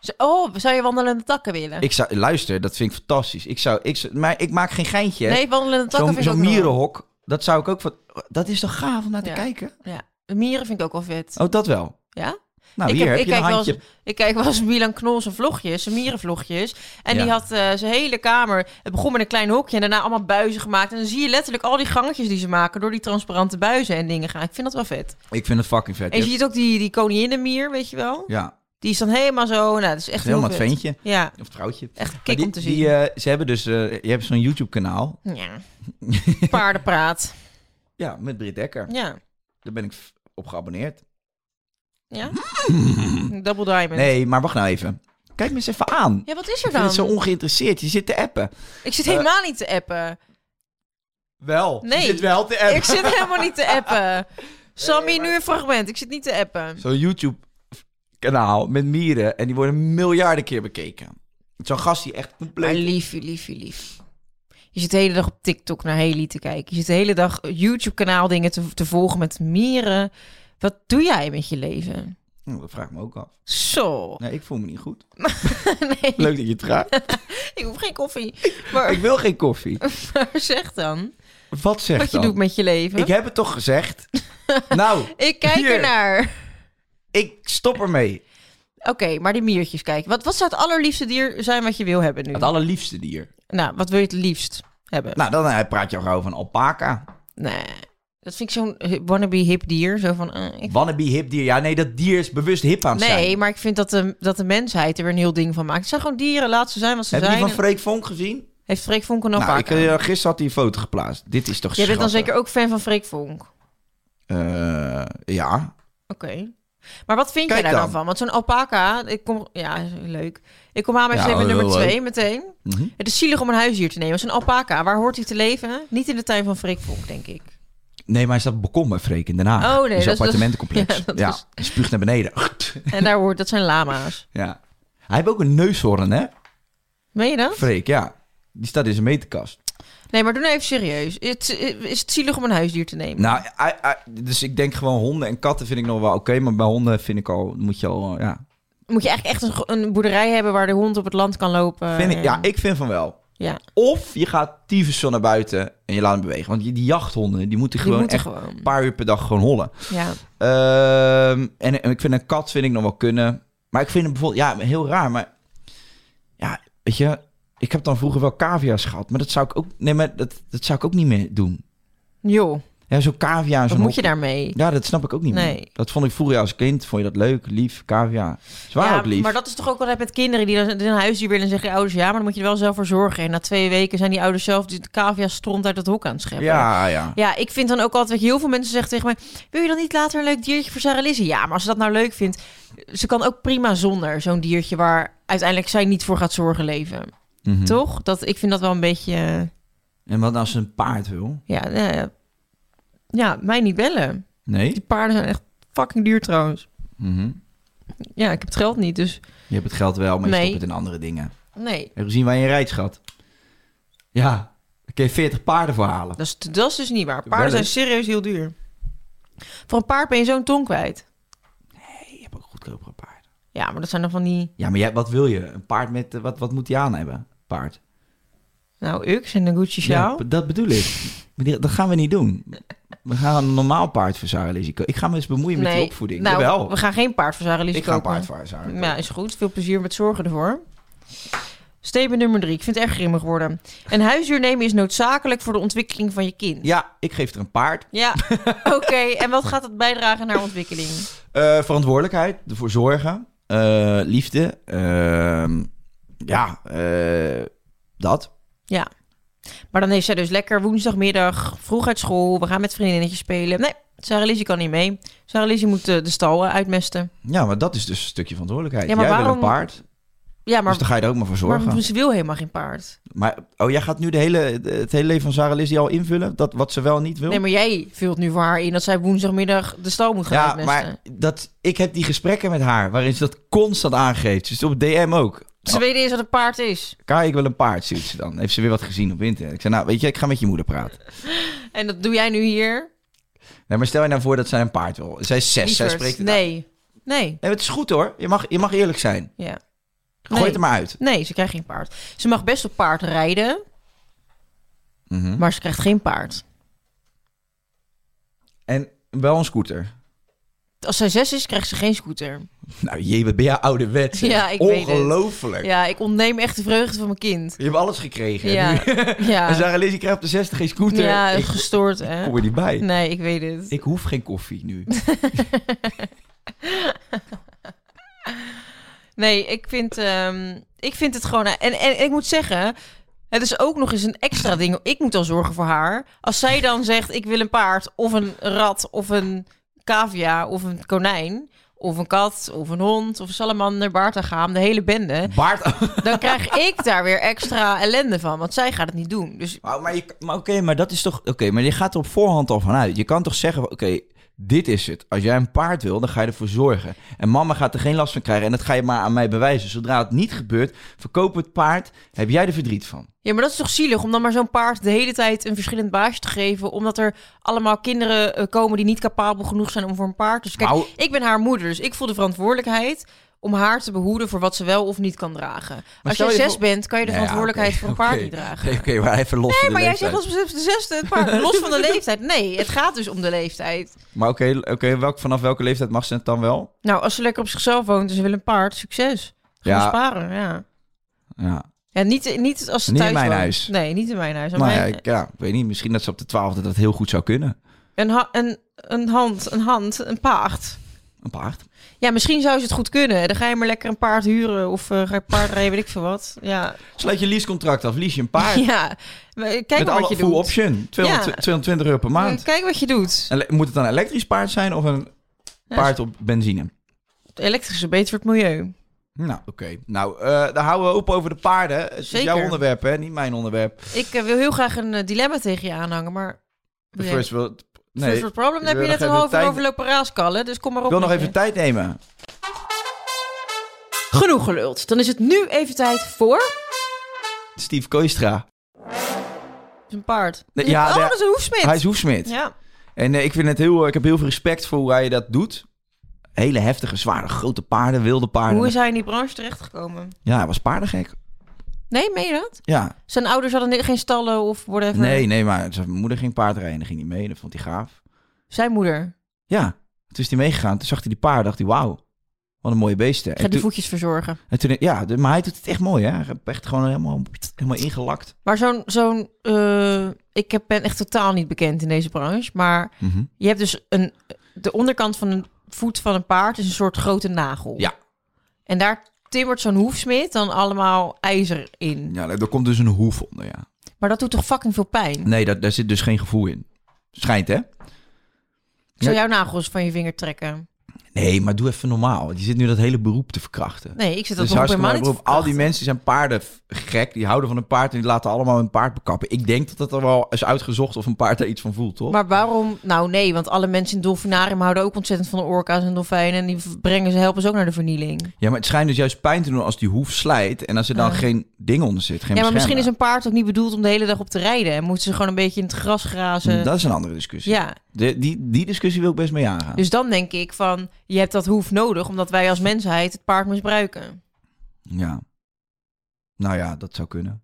Speaker 5: Zo- Oh, zou je wandelende takken willen?
Speaker 3: Ik zou, luister, dat vind ik fantastisch. Ik zou, ik, zou- maar ik maak geen geintje. hè.
Speaker 5: nee, wandelende takken
Speaker 3: eh, Zo'n
Speaker 5: vind ik
Speaker 3: zo'n
Speaker 5: ook wel-
Speaker 3: mierenhok, dat zou ik ook van... Dat is toch gaaf om naar te
Speaker 5: Ja.
Speaker 3: kijken?
Speaker 5: Ja, mieren vind ik ook wel vet.
Speaker 3: Oh, dat wel.
Speaker 5: Ja?
Speaker 3: Nou,
Speaker 5: Ik
Speaker 3: hier
Speaker 5: heb-
Speaker 3: heb,
Speaker 5: ik
Speaker 3: je een
Speaker 5: kijk wel eens-
Speaker 3: handje.
Speaker 5: Ik kijk wel eens Milan Knol zijn vlogjes, zijn mierenvlogjes. En
Speaker 3: Ja.
Speaker 5: die had eh, zijn hele kamer. Het begon met een klein hokje en daarna allemaal buizen gemaakt. En dan zie je letterlijk al die gangetjes die ze maken door die transparante buizen en dingen gaan. Ik vind dat wel vet.
Speaker 3: Ik vind het fucking vet.
Speaker 5: En je ziet ook die, die koninginnenmier, weet je wel?
Speaker 3: Ja,
Speaker 5: Die is dan helemaal zo. Nou, dat is echt heel
Speaker 3: helemaal het
Speaker 5: vet.
Speaker 3: ventje.
Speaker 5: Ja,
Speaker 3: Of het vrouwtje.
Speaker 5: echt
Speaker 3: Maar
Speaker 5: kick
Speaker 3: die-
Speaker 5: om te zien.
Speaker 3: die, eh, ze hebben dus, eh, je hebt zo'n YouTube-kanaal. *laughs*
Speaker 5: Ja. Paardenpraat.
Speaker 3: Ja, met Britt Dekker.
Speaker 5: Ja.
Speaker 3: Daar ben ik f- op geabonneerd. *laughs*
Speaker 5: Ja. Double diamond.
Speaker 3: Nee, maar wacht nou even. Kijk me eens even aan.
Speaker 5: Ja, wat is
Speaker 3: Je
Speaker 5: er
Speaker 3: bent
Speaker 5: dan?
Speaker 3: zo ongeïnteresseerd. Je zit te appen.
Speaker 5: Ik zit helemaal niet te appen.
Speaker 3: Wel.
Speaker 5: Nee.
Speaker 3: wel te
Speaker 5: Ik zit helemaal niet te appen.
Speaker 3: *laughs*
Speaker 5: Sammy, nu een fragment. Ik zit niet te appen.
Speaker 3: Zo'n YouTube-kanaal met mieren. En die worden miljarden keer bekeken. Zo'n gast die echt
Speaker 5: Maar
Speaker 3: compleet...
Speaker 5: liefie, liefie, lief. Je zit de hele dag op TikTok naar Haley te kijken. Je zit de hele dag YouTube-kanaal dingen te, te volgen met mieren. Wat doe jij met je leven?
Speaker 3: Hm, dat vraag ik me ook af.
Speaker 5: Zo. *laughs*
Speaker 3: Nee, ik voel me niet goed.
Speaker 5: Nee,
Speaker 3: Leuk dat je het
Speaker 5: *laughs*
Speaker 3: vraagt.
Speaker 5: ik hoef geen koffie. Maar,
Speaker 3: ik wil geen koffie.
Speaker 5: maar *laughs* zeg dan
Speaker 3: Wat zeg
Speaker 5: wat je
Speaker 3: dan?
Speaker 5: doet met je leven.
Speaker 3: Ik
Speaker 5: Ik,
Speaker 3: heb het toch gezegd?
Speaker 5: *laughs*
Speaker 3: nou,
Speaker 5: kijk
Speaker 3: Hier.
Speaker 5: ernaar.
Speaker 3: ik stop ermee.
Speaker 5: Oké, maar die miertjes kijken. Wat, wat zou het allerliefste dier zijn wat je wil hebben nu?
Speaker 3: Het allerliefste dier.
Speaker 5: Nou, wat wil je het liefst hebben?
Speaker 3: Nou, dan eh, praat je al gauw van alpaca.
Speaker 5: Nee, dat vind ik zo'n hi- wannabe hip dier. Zo van, eh, ik
Speaker 3: Wannabe hip dier. Ja, nee, dat dier is bewust hip aan het zijn.
Speaker 5: Nee, maar ik vind dat de, dat de mensheid er weer een heel ding van maakt. Het zijn gewoon dieren, laat ze zijn wat ze
Speaker 3: Heb je die
Speaker 5: zijn.
Speaker 3: van Freek Vonk gezien?
Speaker 5: Heeft Freek Vonk een
Speaker 3: Nou,
Speaker 5: alpaca?
Speaker 3: ik, eh, gisteren had hij een foto geplaatst. Dit is toch
Speaker 5: Jij bent dan
Speaker 3: schattig.
Speaker 5: zeker ook fan van Freek Vonk? Oké.
Speaker 3: Eh, ja.
Speaker 5: Maar wat vind
Speaker 3: Kijk
Speaker 5: jij daar dan,
Speaker 3: dan.
Speaker 5: van? Want zo'n alpaca, ik kom... Ja, leuk. Ik kom aan bij
Speaker 3: Ja,
Speaker 5: statement
Speaker 3: heel
Speaker 5: nummer
Speaker 3: leuk.
Speaker 5: twee meteen.
Speaker 3: Mhm.
Speaker 5: Het is zielig om een huisdier te nemen. Zo'n alpaca, waar hoort hij te leven? Niet in de tuin van Freek Vonk, denk
Speaker 3: *laughs*
Speaker 5: ik.
Speaker 3: Nee, maar hij staat op het balkon bij Freek in Den Haag.
Speaker 5: Oh, nee,
Speaker 3: In
Speaker 5: dat
Speaker 3: zijn
Speaker 5: is-
Speaker 3: appartementencomplex.
Speaker 5: *laughs* ja,
Speaker 3: Ja,
Speaker 5: dat is-
Speaker 3: hij spuugt naar beneden. *laughs*
Speaker 5: En daar hoort... Dat zijn lama's.
Speaker 3: ja. Hij heeft ook een neushoorn, hè?
Speaker 5: Meen je dat?
Speaker 3: Freek, ja. Die staat in zijn meterkast.
Speaker 5: Nee, maar doe nou even serieus. Het, eh, is het zielig om een huisdier te nemen?
Speaker 3: Nou, hij- hij- dus ik denk gewoon honden en katten vind ik nog wel oké. maar bij honden vind ik al, moet je al, eh, ja.
Speaker 5: Moet je eigenlijk echt een, gro- een boerderij hebben waar de hond op het land kan lopen.
Speaker 3: Vind ik,
Speaker 5: en-
Speaker 3: ja, ik vind van wel.
Speaker 5: Ja, die
Speaker 3: Of je gaat tyfus zo naar buiten en je laat hem bewegen. Want die, die jachthonden, die moeten gewoon
Speaker 5: moeten
Speaker 3: echt
Speaker 5: gewoon.
Speaker 3: een paar uur per dag gewoon hollen.
Speaker 5: Ja.
Speaker 3: Ehm, en, en ik vind een kat vind ik nog wel kunnen. Maar ik vind hem bijvoorbeeld, ja, heel raar. Maar ja, weet je, ik heb dan vroeger wel cavia's gehad. Maar dat zou ik ook, nee, maar dat, dat zou ik ook niet meer doen.
Speaker 5: Joh,
Speaker 3: Ja, zo'n cavia en
Speaker 5: wat
Speaker 3: zo'n
Speaker 5: moet je
Speaker 3: hok-
Speaker 5: daarmee?
Speaker 3: Ja, dat snap ik ook niet meer.
Speaker 5: Nee.
Speaker 3: Dat vond ik vroeger als kind, vond je dat leuk, lief, cavia. Ze waren
Speaker 5: Ja,
Speaker 3: ook lief.
Speaker 5: maar dat is toch ook altijd met kinderen die dan die een huisdier willen en zeggen je ouders ja, maar dan moet je er wel zelf voor zorgen. En na twee weken zijn die ouders zelf de cavia stront uit het hok aan het scheppen.
Speaker 3: ja, ja.
Speaker 5: Ja, ik vind dan ook altijd, weet je, heel veel mensen zeggen tegen mij... wil je dan niet later een leuk diertje voor Sarah Lizzie? Ja, maar als ze dat nou leuk vindt... ze kan ook prima zonder zo'n diertje waar uiteindelijk zij niet voor gaat zorgen leven.
Speaker 3: Mhm.
Speaker 5: Toch? Dat, ik vind dat wel een beetje... eh,
Speaker 3: En wat als ze een paard wil?
Speaker 5: Ja, nou ja. ja, mij niet bellen.
Speaker 3: Nee?
Speaker 5: Die paarden zijn echt fucking duur trouwens.
Speaker 3: Mhm.
Speaker 5: Ja, ik heb het geld niet, dus...
Speaker 3: Je hebt het geld wel, maar je
Speaker 5: Nee.
Speaker 3: stopt het in andere dingen.
Speaker 5: Nee,
Speaker 3: Heb je gezien waar je rijdt, schat? Ja, daar kun je 40 paarden voor halen.
Speaker 5: dat is, dat is dus niet waar. Paarden
Speaker 3: Wel
Speaker 5: zijn
Speaker 3: eens.
Speaker 5: serieus heel duur. Voor een paard ben je zo'n tong kwijt.
Speaker 3: Je hebt ook goedkopere paarden.
Speaker 5: Ja, maar dat zijn dan van die...
Speaker 3: Ja, maar jij, wat wil je? Een paard met... eh, Wat, wat moet die aan hebben? Paard.
Speaker 5: Nou, Ux en een Gucci sjaal.
Speaker 3: Ja, dat bedoel ik. Maar die- Dat gaan we niet doen. We gaan een normaal paard voor Sarah Lizzie kopen. Ik ga me eens bemoeien met die opvoeding.
Speaker 5: Nou,
Speaker 3: Jawel.
Speaker 5: we gaan geen paard voor Sarah Lizzie
Speaker 3: Ik ga een
Speaker 5: kopen.
Speaker 3: paard voor Sarah kopen.
Speaker 5: Ja, is goed. Veel plezier met zorgen ervoor. Statement nummer drie. Ik vind het erg grimmig worden. Een huisdier nemen is noodzakelijk voor de ontwikkeling van je kind.
Speaker 3: Ja, ik geef er een paard. *laughs*
Speaker 5: Ja, oké. En wat gaat dat bijdragen naar ontwikkeling?
Speaker 3: Eh, verantwoordelijkheid, ervoor zorgen, eh, liefde. ehm, ja, eh, dat.
Speaker 5: Ja. Maar dan heeft zij dus lekker woensdagmiddag, vroeg uit school. We gaan met vriendinnetjes spelen. Nee, Sarah Lizzie kan niet mee. Sarah Lizzie moet eh, de stal eh, uitmesten.
Speaker 3: Ja, maar dat is dus een stukje verantwoordelijkheid.
Speaker 5: Ja, maar
Speaker 3: jij wil een
Speaker 5: waarom-
Speaker 3: paard,
Speaker 5: Ja, maar,
Speaker 3: dus dan ga je er ook maar voor zorgen. Maar,
Speaker 5: maar ze wil helemaal geen paard.
Speaker 3: oh, jij gaat nu de hele, het hele leven van Sarah Lizzie al invullen? Dat wat ze wel niet wil?
Speaker 5: Nee, maar jij vult nu voor haar in dat zij woensdagmiddag de stal moet gaan
Speaker 3: ja,
Speaker 5: uitmesten.
Speaker 3: maar dat, ik heb die gesprekken met haar waarin ze dat constant aangeeft. Dus op DM ook.
Speaker 5: Ze weten eens wat een paard is.
Speaker 3: Kai, ik wil een paard, ziet ze dan. Heeft ze weer wat gezien op internet. Ik zei, nou, weet je, ik ga met je moeder praten.
Speaker 5: En dat doe jij nu hier.
Speaker 3: Nee, maar stel je nou voor dat zij een paard wil. Zij is zes, zij
Speaker 5: Lieverd.
Speaker 3: spreekt het uit.
Speaker 5: Nee. Nee.
Speaker 3: Nee, maar het is goed hoor. Je mag, je mag eerlijk zijn.
Speaker 5: Ja.
Speaker 3: Gooi
Speaker 5: Nee.
Speaker 3: het er maar uit.
Speaker 5: Nee, ze krijgt geen paard. Ze mag best op paard rijden,
Speaker 3: Mhm.
Speaker 5: maar ze krijgt geen paard.
Speaker 3: En wel een scooter.
Speaker 5: Als zij zes is, krijgt ze geen scooter.
Speaker 3: Nou, jee, wat ben jij ouderwets. hè?
Speaker 5: Ja, ik weet het.
Speaker 3: Ongelooflijk.
Speaker 5: Ja, ik ontneem echt de vreugde van mijn kind.
Speaker 3: Je hebt alles gekregen. hè,
Speaker 5: Ja.
Speaker 3: nu. *laughs* En
Speaker 5: Ja,
Speaker 3: Sarah Lizzie krijgt op de 60 geen scooter.
Speaker 5: ja
Speaker 3: ik
Speaker 5: gestoord
Speaker 3: kom
Speaker 5: hè.
Speaker 3: er niet bij.
Speaker 5: Nee, ik weet het.
Speaker 3: Ik hoef geen koffie
Speaker 5: *laughs*
Speaker 3: nu.
Speaker 5: Nee, ik vind, ehm, ik vind het gewoon... En, en, en ik moet zeggen, het is ook nog eens een extra ding. Ik moet dan zorgen voor haar. Als zij dan zegt, ik wil een paard of een rat of een cavia of een konijn... Of een kat, of een hond, of een salamander, baartagaam, de hele bende.
Speaker 3: Baard.
Speaker 5: dan krijg ik daar weer extra ellende van, want zij gaat het niet doen. Dus
Speaker 3: maar maar, je- maar oké, maar dat is toch... Oké, maar je gaat er op voorhand al vanuit. Je kan toch zeggen, oké, dit is het. Als jij een paard wil, dan ga je ervoor zorgen. En mama gaat er geen last van krijgen. En dat ga je maar aan mij bewijzen. Zodra het niet gebeurt, verkopen we het paard. Heb jij er verdriet van?
Speaker 5: ja, maar dat is toch zielig om dan maar zo'n paard de hele tijd een verschillend baasje te geven, omdat er allemaal kinderen eh, komen die niet capabel genoeg zijn om voor een paard. Dus kijk,
Speaker 3: Nou-
Speaker 5: ik ben haar moeder, dus ik voel de verantwoordelijkheid om haar te behoeden voor wat ze wel of niet kan dragen. Als
Speaker 3: stel
Speaker 5: je
Speaker 3: je
Speaker 5: zes
Speaker 3: voor-
Speaker 5: bent, kan je de
Speaker 3: Nou ja,
Speaker 5: verantwoordelijkheid
Speaker 3: oké,
Speaker 5: voor een paard
Speaker 3: oké.
Speaker 5: niet dragen.
Speaker 3: Oké, maar even los van
Speaker 5: Nee,
Speaker 3: de
Speaker 5: maar jij
Speaker 3: leeftijd.
Speaker 5: zegt als ze de zesde het paard los
Speaker 3: *laughs*
Speaker 5: van de leeftijd. Nee, het gaat dus om de leeftijd.
Speaker 3: Maar oké, oké, welk, vanaf welke leeftijd mag ze het dan wel?
Speaker 5: Nou, als ze lekker op zichzelf woont en ze wil een paard, succes. Gaan
Speaker 3: Ja.
Speaker 5: sparen, ja.
Speaker 3: Ja.
Speaker 5: Ja, niet, niet als ze
Speaker 3: Niet in
Speaker 5: thuis
Speaker 3: mijn
Speaker 5: woont.
Speaker 3: huis.
Speaker 5: Nee, niet in mijn huis. Aan
Speaker 3: Nou ja,
Speaker 5: mijn-
Speaker 3: ik, ja, ik weet niet. Misschien dat ze op de twaalfde dat heel goed zou kunnen.
Speaker 5: Een, ha- een, een hand, een hand, een paard.
Speaker 3: Een paard.
Speaker 5: Ja, misschien zou ze het goed kunnen. Dan ga je maar lekker een paard huren of eh, ga je paard rijden, weet ik veel wat. Ja,
Speaker 3: Sluit je leasecontract af, lease je een paard.
Speaker 5: *laughs* ja. Maar Kijk
Speaker 3: met
Speaker 5: maar
Speaker 3: alle
Speaker 5: wat je
Speaker 3: full
Speaker 5: doet.
Speaker 3: option. 200,
Speaker 5: Ja.
Speaker 3: 220 euro per maand.
Speaker 5: Kijk wat je doet.
Speaker 3: En le- moet het dan een elektrisch paard zijn of een
Speaker 5: Ja,
Speaker 3: paard op benzine?
Speaker 5: het elektrische beter voor het milieu.
Speaker 3: Nou, oké. Nou, eh, daar houden we op over de paarden. Het is
Speaker 5: Zeker.
Speaker 3: jouw onderwerp, hè? Niet mijn onderwerp.
Speaker 5: Ik eh, wil heel graag een eh, dilemma tegen je aanhangen, maar...
Speaker 3: De
Speaker 5: Wil jij-
Speaker 3: First world... Nee,
Speaker 5: First world problem,
Speaker 3: ik
Speaker 5: dan heb
Speaker 3: wil
Speaker 5: je
Speaker 3: nog
Speaker 5: net een
Speaker 3: even
Speaker 5: half uur
Speaker 3: tijd-
Speaker 5: over lopen raaskallen, dus kom maar
Speaker 3: ik
Speaker 5: op.
Speaker 3: wil nog
Speaker 5: met
Speaker 3: even
Speaker 5: je.
Speaker 3: tijd nemen.
Speaker 5: Genoeg geluld. Dan is het nu even tijd voor...
Speaker 3: Steve Koistra.
Speaker 5: Een paard.
Speaker 3: Nee, ja,
Speaker 5: oh,
Speaker 3: nee,
Speaker 5: dat is een hoefsmid.
Speaker 3: Hij is hoefsmid.
Speaker 5: Ja.
Speaker 3: En eh, ik vind het heel, ik heb heel veel respect voor hoe hij dat doet. Hele heftige, zware, grote paarden, wilde paarden.
Speaker 5: Hoe is hij in die branche terechtgekomen?
Speaker 3: Ja, hij was paardengek.
Speaker 5: Nee, meen je dat?
Speaker 3: Ja,
Speaker 5: Zijn ouders hadden geen stallen of whatever?
Speaker 3: nee, nee, maar zijn moeder ging paardrijden en ging niet mee. Dat vond hij gaaf.
Speaker 5: Zijn moeder.
Speaker 3: Ja, toen is hij meegegaan. Toen zag hij die paarden, dacht hij, wauw, wat een mooie beesten.
Speaker 5: Gaat
Speaker 3: En
Speaker 5: die
Speaker 3: toen,
Speaker 5: voetjes verzorgen.
Speaker 3: en toen- ja, de- maar hij doet het echt mooi, hè. Hij heeft echt gewoon helemaal, helemaal ingelakt.
Speaker 5: Maar zo'n... zo'n eh, ik heb- ben echt totaal niet bekend in deze branche. Maar
Speaker 3: Mhm.
Speaker 5: je hebt dus een... De onderkant van een voet van een paard is een soort grote nagel.
Speaker 3: Ja.
Speaker 5: En daar timmert zo'n hoefsmid dan allemaal ijzer in.
Speaker 3: Ja, daar komt dus een hoef onder, ja.
Speaker 5: Maar dat doet toch fucking veel pijn?
Speaker 3: Nee, daar, daar zit dus geen gevoel in. Schijnt, hè?
Speaker 5: Ik zou
Speaker 3: Ja.
Speaker 5: jouw nagels van je vinger trekken.
Speaker 3: Nee, maar doe even normaal. Want je zit nu dat hele beroep te verkrachten.
Speaker 5: Nee, ik zit dat
Speaker 3: Dat is Dus
Speaker 5: nog
Speaker 3: hartstikke
Speaker 5: helemaal
Speaker 3: mooi
Speaker 5: niet
Speaker 3: beroep. Al die mensen zijn paarden f- gek. Die houden van een paard en die laten allemaal hun paard bekappen. Ik denk dat dat er wel is uitgezocht of een paard daar iets van voelt, toch?
Speaker 5: Maar waarom? Nou nee, want alle mensen in het dolfinarium houden ook ontzettend van de orka's en dolfijnen. En die v- brengen ze, helpen ze ook naar de vernieling.
Speaker 3: Ja, maar het schijnt dus juist pijn te doen als die hoef slijt. En als er dan
Speaker 5: Ah.
Speaker 3: geen ding onder zit. Geen
Speaker 5: Ja, maar misschien is
Speaker 3: beschermer.
Speaker 5: een paard ook niet bedoeld om de hele dag op te rijden. En moeten ze gewoon een beetje in het gras grazen.
Speaker 3: Dat is een andere discussie.
Speaker 5: Ja,
Speaker 3: De- die, die discussie wil ik best mee aangaan.
Speaker 5: dus dan denk ik van, je hebt dat hoef nodig, omdat wij als mensheid het paard misbruiken.
Speaker 3: Ja. Nou ja, dat zou kunnen.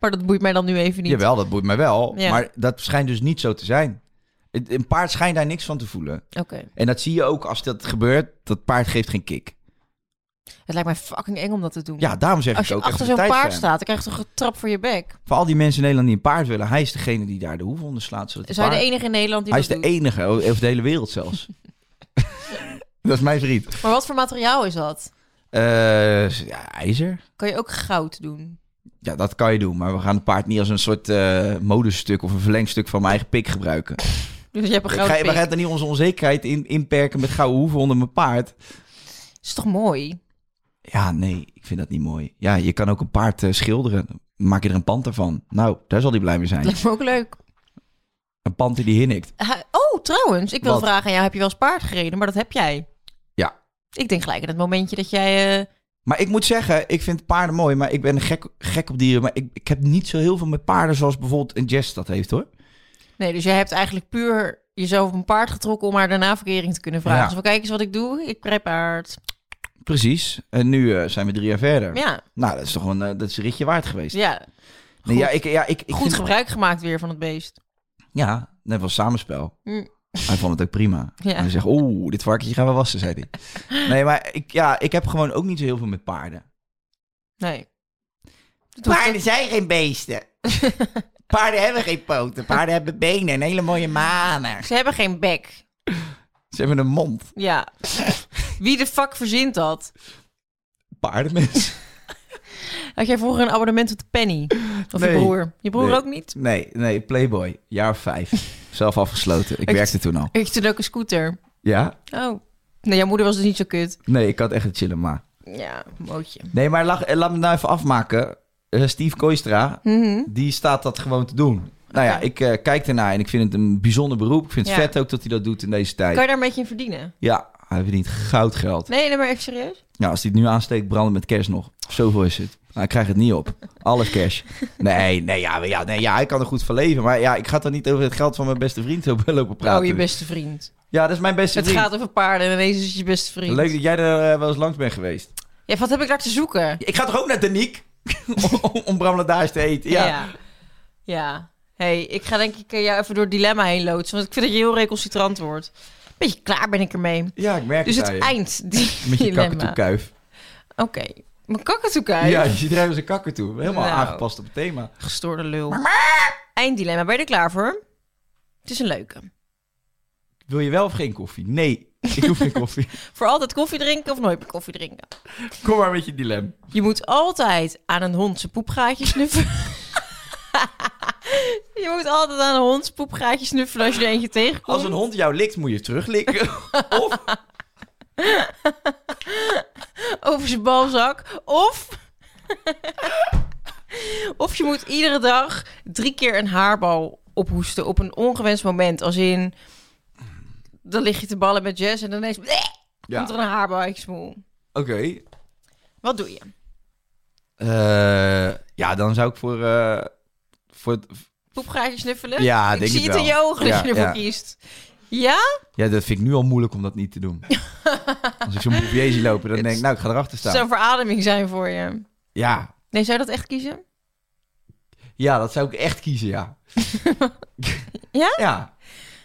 Speaker 5: Maar dat boeit mij dan nu even niet.
Speaker 3: Jawel, dat boeit mij wel.
Speaker 5: Ja.
Speaker 3: Maar dat schijnt dus niet zo te zijn. Het- Een paard schijnt daar niks van te voelen.
Speaker 5: Oké.
Speaker 3: En dat zie je ook als dat gebeurt. Dat paard geeft geen kick.
Speaker 5: Het lijkt mij fucking eng om dat te doen.
Speaker 3: Ja, daarom zeg
Speaker 5: Als
Speaker 3: ik
Speaker 5: je
Speaker 3: ook
Speaker 5: achter
Speaker 3: echt
Speaker 5: zo'n
Speaker 3: een
Speaker 5: paard
Speaker 3: tijdfan.
Speaker 5: staat, dan krijg je toch een trap voor je bek.
Speaker 3: Voor al die mensen in Nederland die een paard willen. Hij is degene die daar de hoef onder slaat. Zodat
Speaker 5: Is
Speaker 3: het
Speaker 5: hij de
Speaker 3: paard-
Speaker 5: enige in Nederland die
Speaker 3: hij is de
Speaker 5: dat doet?
Speaker 3: enige. Over de hele wereld zelfs.
Speaker 5: *laughs*
Speaker 3: *laughs* dat is mijn vriend.
Speaker 5: Maar wat voor materiaal is dat?
Speaker 3: Eh, ja, ijzer.
Speaker 5: Kan je ook goud doen?
Speaker 3: Ja, dat kan je doen. Maar we gaan het paard niet als een soort eh modestuk of een verlengstuk van mijn eigen pik gebruiken.
Speaker 5: Dus je hebt een
Speaker 3: Ik
Speaker 5: gouden
Speaker 3: ga, we
Speaker 5: pik.
Speaker 3: gaan er niet onze onzekerheid in, inperken met gouden hoeven onder mijn paard.
Speaker 5: is toch mooi?
Speaker 3: Ja, nee, ik vind dat niet mooi. Ja, je kan ook een paard eh, schilderen. Maak je er een panter van. Nou, daar zal hij blij mee
Speaker 5: *laughs*
Speaker 3: zijn.
Speaker 5: Lijkt me ook leuk.
Speaker 3: Een panter die hinnikt.
Speaker 5: Ha- Oh, trouwens, ik wil
Speaker 3: Wat?
Speaker 5: vragen aan jou, heb je wel eens paard gereden? Maar dat heb jij.
Speaker 3: Ja.
Speaker 5: Ik denk gelijk aan het momentje dat jij... eh,
Speaker 3: Maar ik moet zeggen, ik vind paarden mooi, maar ik ben gek, gek op dieren. Maar ik, ik heb niet zo heel veel met paarden zoals bijvoorbeeld een Jess dat heeft hoor.
Speaker 5: Nee, dus jij hebt eigenlijk puur jezelf op een paard getrokken om haar daarna verkering te kunnen vragen.
Speaker 3: Ja.
Speaker 5: Dus we kijken eens wat ik doe. Ik rij paard.
Speaker 3: Precies. En nu eh, zijn we drie jaar verder.
Speaker 5: Ja,
Speaker 3: Nou, dat is toch een, eh, dat is een ritje waard geweest.
Speaker 5: ja.
Speaker 3: Nee,
Speaker 5: Goed.
Speaker 3: ja, ik, ja, ik, ik
Speaker 5: Goed
Speaker 3: vind-
Speaker 5: gebruik gemaakt weer van het beest.
Speaker 3: Ja, net was samenspel.
Speaker 5: Hm.
Speaker 3: Hij vond het ook prima.
Speaker 5: Ja.
Speaker 3: En hij zegt, oeh, dit varkentje gaan we wassen, zei hij. nee, maar ik, ja, ik heb gewoon ook niet zo heel veel met paarden.
Speaker 5: Nee.
Speaker 3: Paarden zijn geen beesten. Paarden hebben geen poten. Paarden hebben benen en hele mooie manen.
Speaker 5: Ze hebben geen bek.
Speaker 3: Ze hebben een mond. *laughs*
Speaker 5: Ja. Wie de fuck verzint dat?
Speaker 3: Paardenmens.
Speaker 5: Had jij vroeger een abonnement op de Penny? Of
Speaker 3: Nee.
Speaker 5: je broer? Je broer
Speaker 3: Nee.
Speaker 5: ook niet?
Speaker 3: Nee, nee, Playboy. Jaar of vijf. Zelf afgesloten. Ik
Speaker 5: Echt?
Speaker 3: werkte toen al.
Speaker 5: Ik had toen ook een scooter.
Speaker 3: Ja?
Speaker 5: Oh. Nee, jouw moeder was dus niet zo kut.
Speaker 3: Nee, ik had echt een chillema.
Speaker 5: Ja, mootje.
Speaker 3: Nee, maar lach, eh, laat me nou even afmaken. Eh, Steve Koistra, die staat dat gewoon te doen. Nou ja,
Speaker 5: Oké.
Speaker 3: ik eh, kijk ernaar en ik vind het een bijzonder beroep. Ik vind het
Speaker 5: Ja.
Speaker 3: vet ook dat hij dat doet in deze tijd.
Speaker 5: Kan je daar een beetje in verdienen?
Speaker 3: Ja, hij verdient goudgeld.
Speaker 5: Nee, nee, maar echt serieus?
Speaker 3: Nou, als hij het nu aansteekt, branden met cash nog. Zoveel is het. Maar hij krijgt het niet op. Alles cash. Nee, nee, ja, maar ja, nee, ja, hij kan er goed van leven. Maar ja, ik ga dan niet over het geld van mijn beste vriend op- lopen praten.
Speaker 5: Oh, je beste vriend.
Speaker 3: Ja, dat is mijn beste
Speaker 5: Het
Speaker 3: vriend.
Speaker 5: gaat over paarden en ineens is het je beste vriend.
Speaker 3: Leuk dat jij er eh, wel eens langs bent geweest.
Speaker 5: Ja, wat heb ik daar te zoeken?
Speaker 3: Ik ga toch ook naar Daniek? *laughs* om, om bramladaars te eten. Ja.
Speaker 5: Ja. Ja. hey, ik ga denk ik eh, jou even door het dilemma heen loodsen. Want ik vind dat je heel reconcitrant wordt. Beetje klaar ben ik ermee.
Speaker 3: Ja, ik merk
Speaker 5: Dus
Speaker 3: het
Speaker 5: het
Speaker 3: aan je.
Speaker 5: eind.
Speaker 3: Met je
Speaker 5: dilemma.
Speaker 3: kakatoekuif.
Speaker 5: Oké. Mijn kakatoekuif.
Speaker 3: Ja, je ziet er even kakker toe. Helemaal
Speaker 5: Nou.
Speaker 3: aangepast op het thema.
Speaker 5: Gestoorde lul. Einddilemma. Ben je er klaar voor? Het is een leuke.
Speaker 3: Wil je wel of geen koffie? Nee, ik hoef geen koffie.
Speaker 5: Voor altijd koffie drinken of nooit meer koffie drinken?
Speaker 3: *laughs* Kom maar met je dilemma.
Speaker 5: Je moet altijd aan een hond zijn poepgaatje snuffelen. *laughs* je moet altijd aan een hond zijn poepgaatje snuffelen als je er eentje tegenkomt.
Speaker 3: Als een hond jou likt, moet je het *laughs* teruglikken. of
Speaker 5: Over zijn balzak. Of... *laughs* of je moet iedere dag drie keer een haarbal ophoesten op een ongewenst moment. Als in... Dan lig je te ballen met Jess en dan ineens...
Speaker 3: Ja.
Speaker 5: Komt er een haarbal uit je smoel.
Speaker 3: Oké.
Speaker 5: Wat doe je?
Speaker 3: Eh, ja, dan zou ik voor. eh, voor het-
Speaker 5: Poepgaatje snuffelen?
Speaker 3: Ja,
Speaker 5: ik
Speaker 3: denk
Speaker 5: zie
Speaker 3: ik
Speaker 5: het in
Speaker 3: wel.
Speaker 5: je ogen dat
Speaker 3: Ja,
Speaker 5: je ervoor
Speaker 3: ja.
Speaker 5: kiest. Ja?
Speaker 3: Ja, dat vind ik nu al moeilijk om dat niet te *laughs* doen. Als ik zo'n bouffier zie lopen, dan denk ik, nou, ik ga erachter
Speaker 5: Het
Speaker 3: staan.
Speaker 5: zou een verademing zijn voor je.
Speaker 3: Ja,
Speaker 5: Nee, zou je dat echt kiezen?
Speaker 3: ja, dat zou ik echt kiezen, ja.
Speaker 5: Ja?
Speaker 3: *laughs* Ja.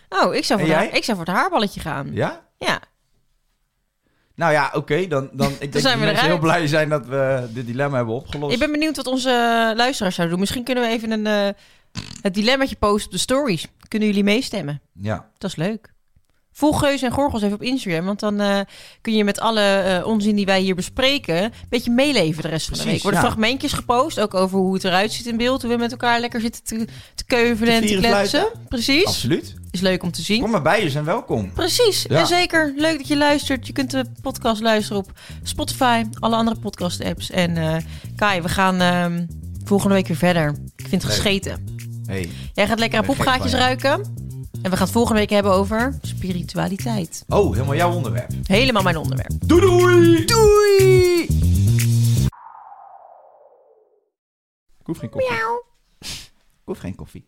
Speaker 5: Oh, ik zou
Speaker 3: En
Speaker 5: voor, de
Speaker 3: jij?
Speaker 5: haar- ik zou voor het haarballetje gaan.
Speaker 3: Ja?
Speaker 5: Ja.
Speaker 3: Nou ja, oké, dan, dan ik denk dat
Speaker 5: zijn we
Speaker 3: mensen heel
Speaker 5: eruit.
Speaker 3: blij zijn dat we dit dilemma hebben opgelost.
Speaker 5: Ik ben benieuwd wat onze eh, luisteraars zouden doen. Misschien kunnen we even een, eh, het dilemmaatje posten op de stories. Kunnen jullie meestemmen?
Speaker 3: Ja,
Speaker 5: Dat is leuk. Volg Geus en Gorgels even op Instagram, want dan eh, kun je met alle eh, onzin die wij hier bespreken, een beetje meeleven de rest van de
Speaker 3: Precies,
Speaker 5: week. Er worden
Speaker 3: ja.
Speaker 5: fragmentjes gepost, ook over hoe het eruit ziet in beeld, hoe we met elkaar lekker zitten te, te keuvelen
Speaker 3: Te
Speaker 5: en te
Speaker 3: vieren,
Speaker 5: kletsen. Precies,
Speaker 3: absoluut.
Speaker 5: is leuk om te zien.
Speaker 3: Kom maar bij, je zijn welkom.
Speaker 5: Precies,
Speaker 3: Ja.
Speaker 5: en zeker leuk dat je luistert. Je kunt de podcast luisteren op Spotify, alle andere podcast apps. En eh, Kai, we gaan ehm, volgende week weer verder. Ik vind het
Speaker 3: Leuk.
Speaker 5: gescheten.
Speaker 3: Hey.
Speaker 5: Jij gaat lekker aan
Speaker 3: Ik ben gek
Speaker 5: poepgaatjes
Speaker 3: van je.
Speaker 5: ruiken. En we gaan het volgende week hebben over spiritualiteit.
Speaker 3: Oh, helemaal jouw onderwerp.
Speaker 5: Helemaal mijn onderwerp.
Speaker 3: Doei doei! Doei! Ik hoef geen koffie. Ik hoef geen koffie.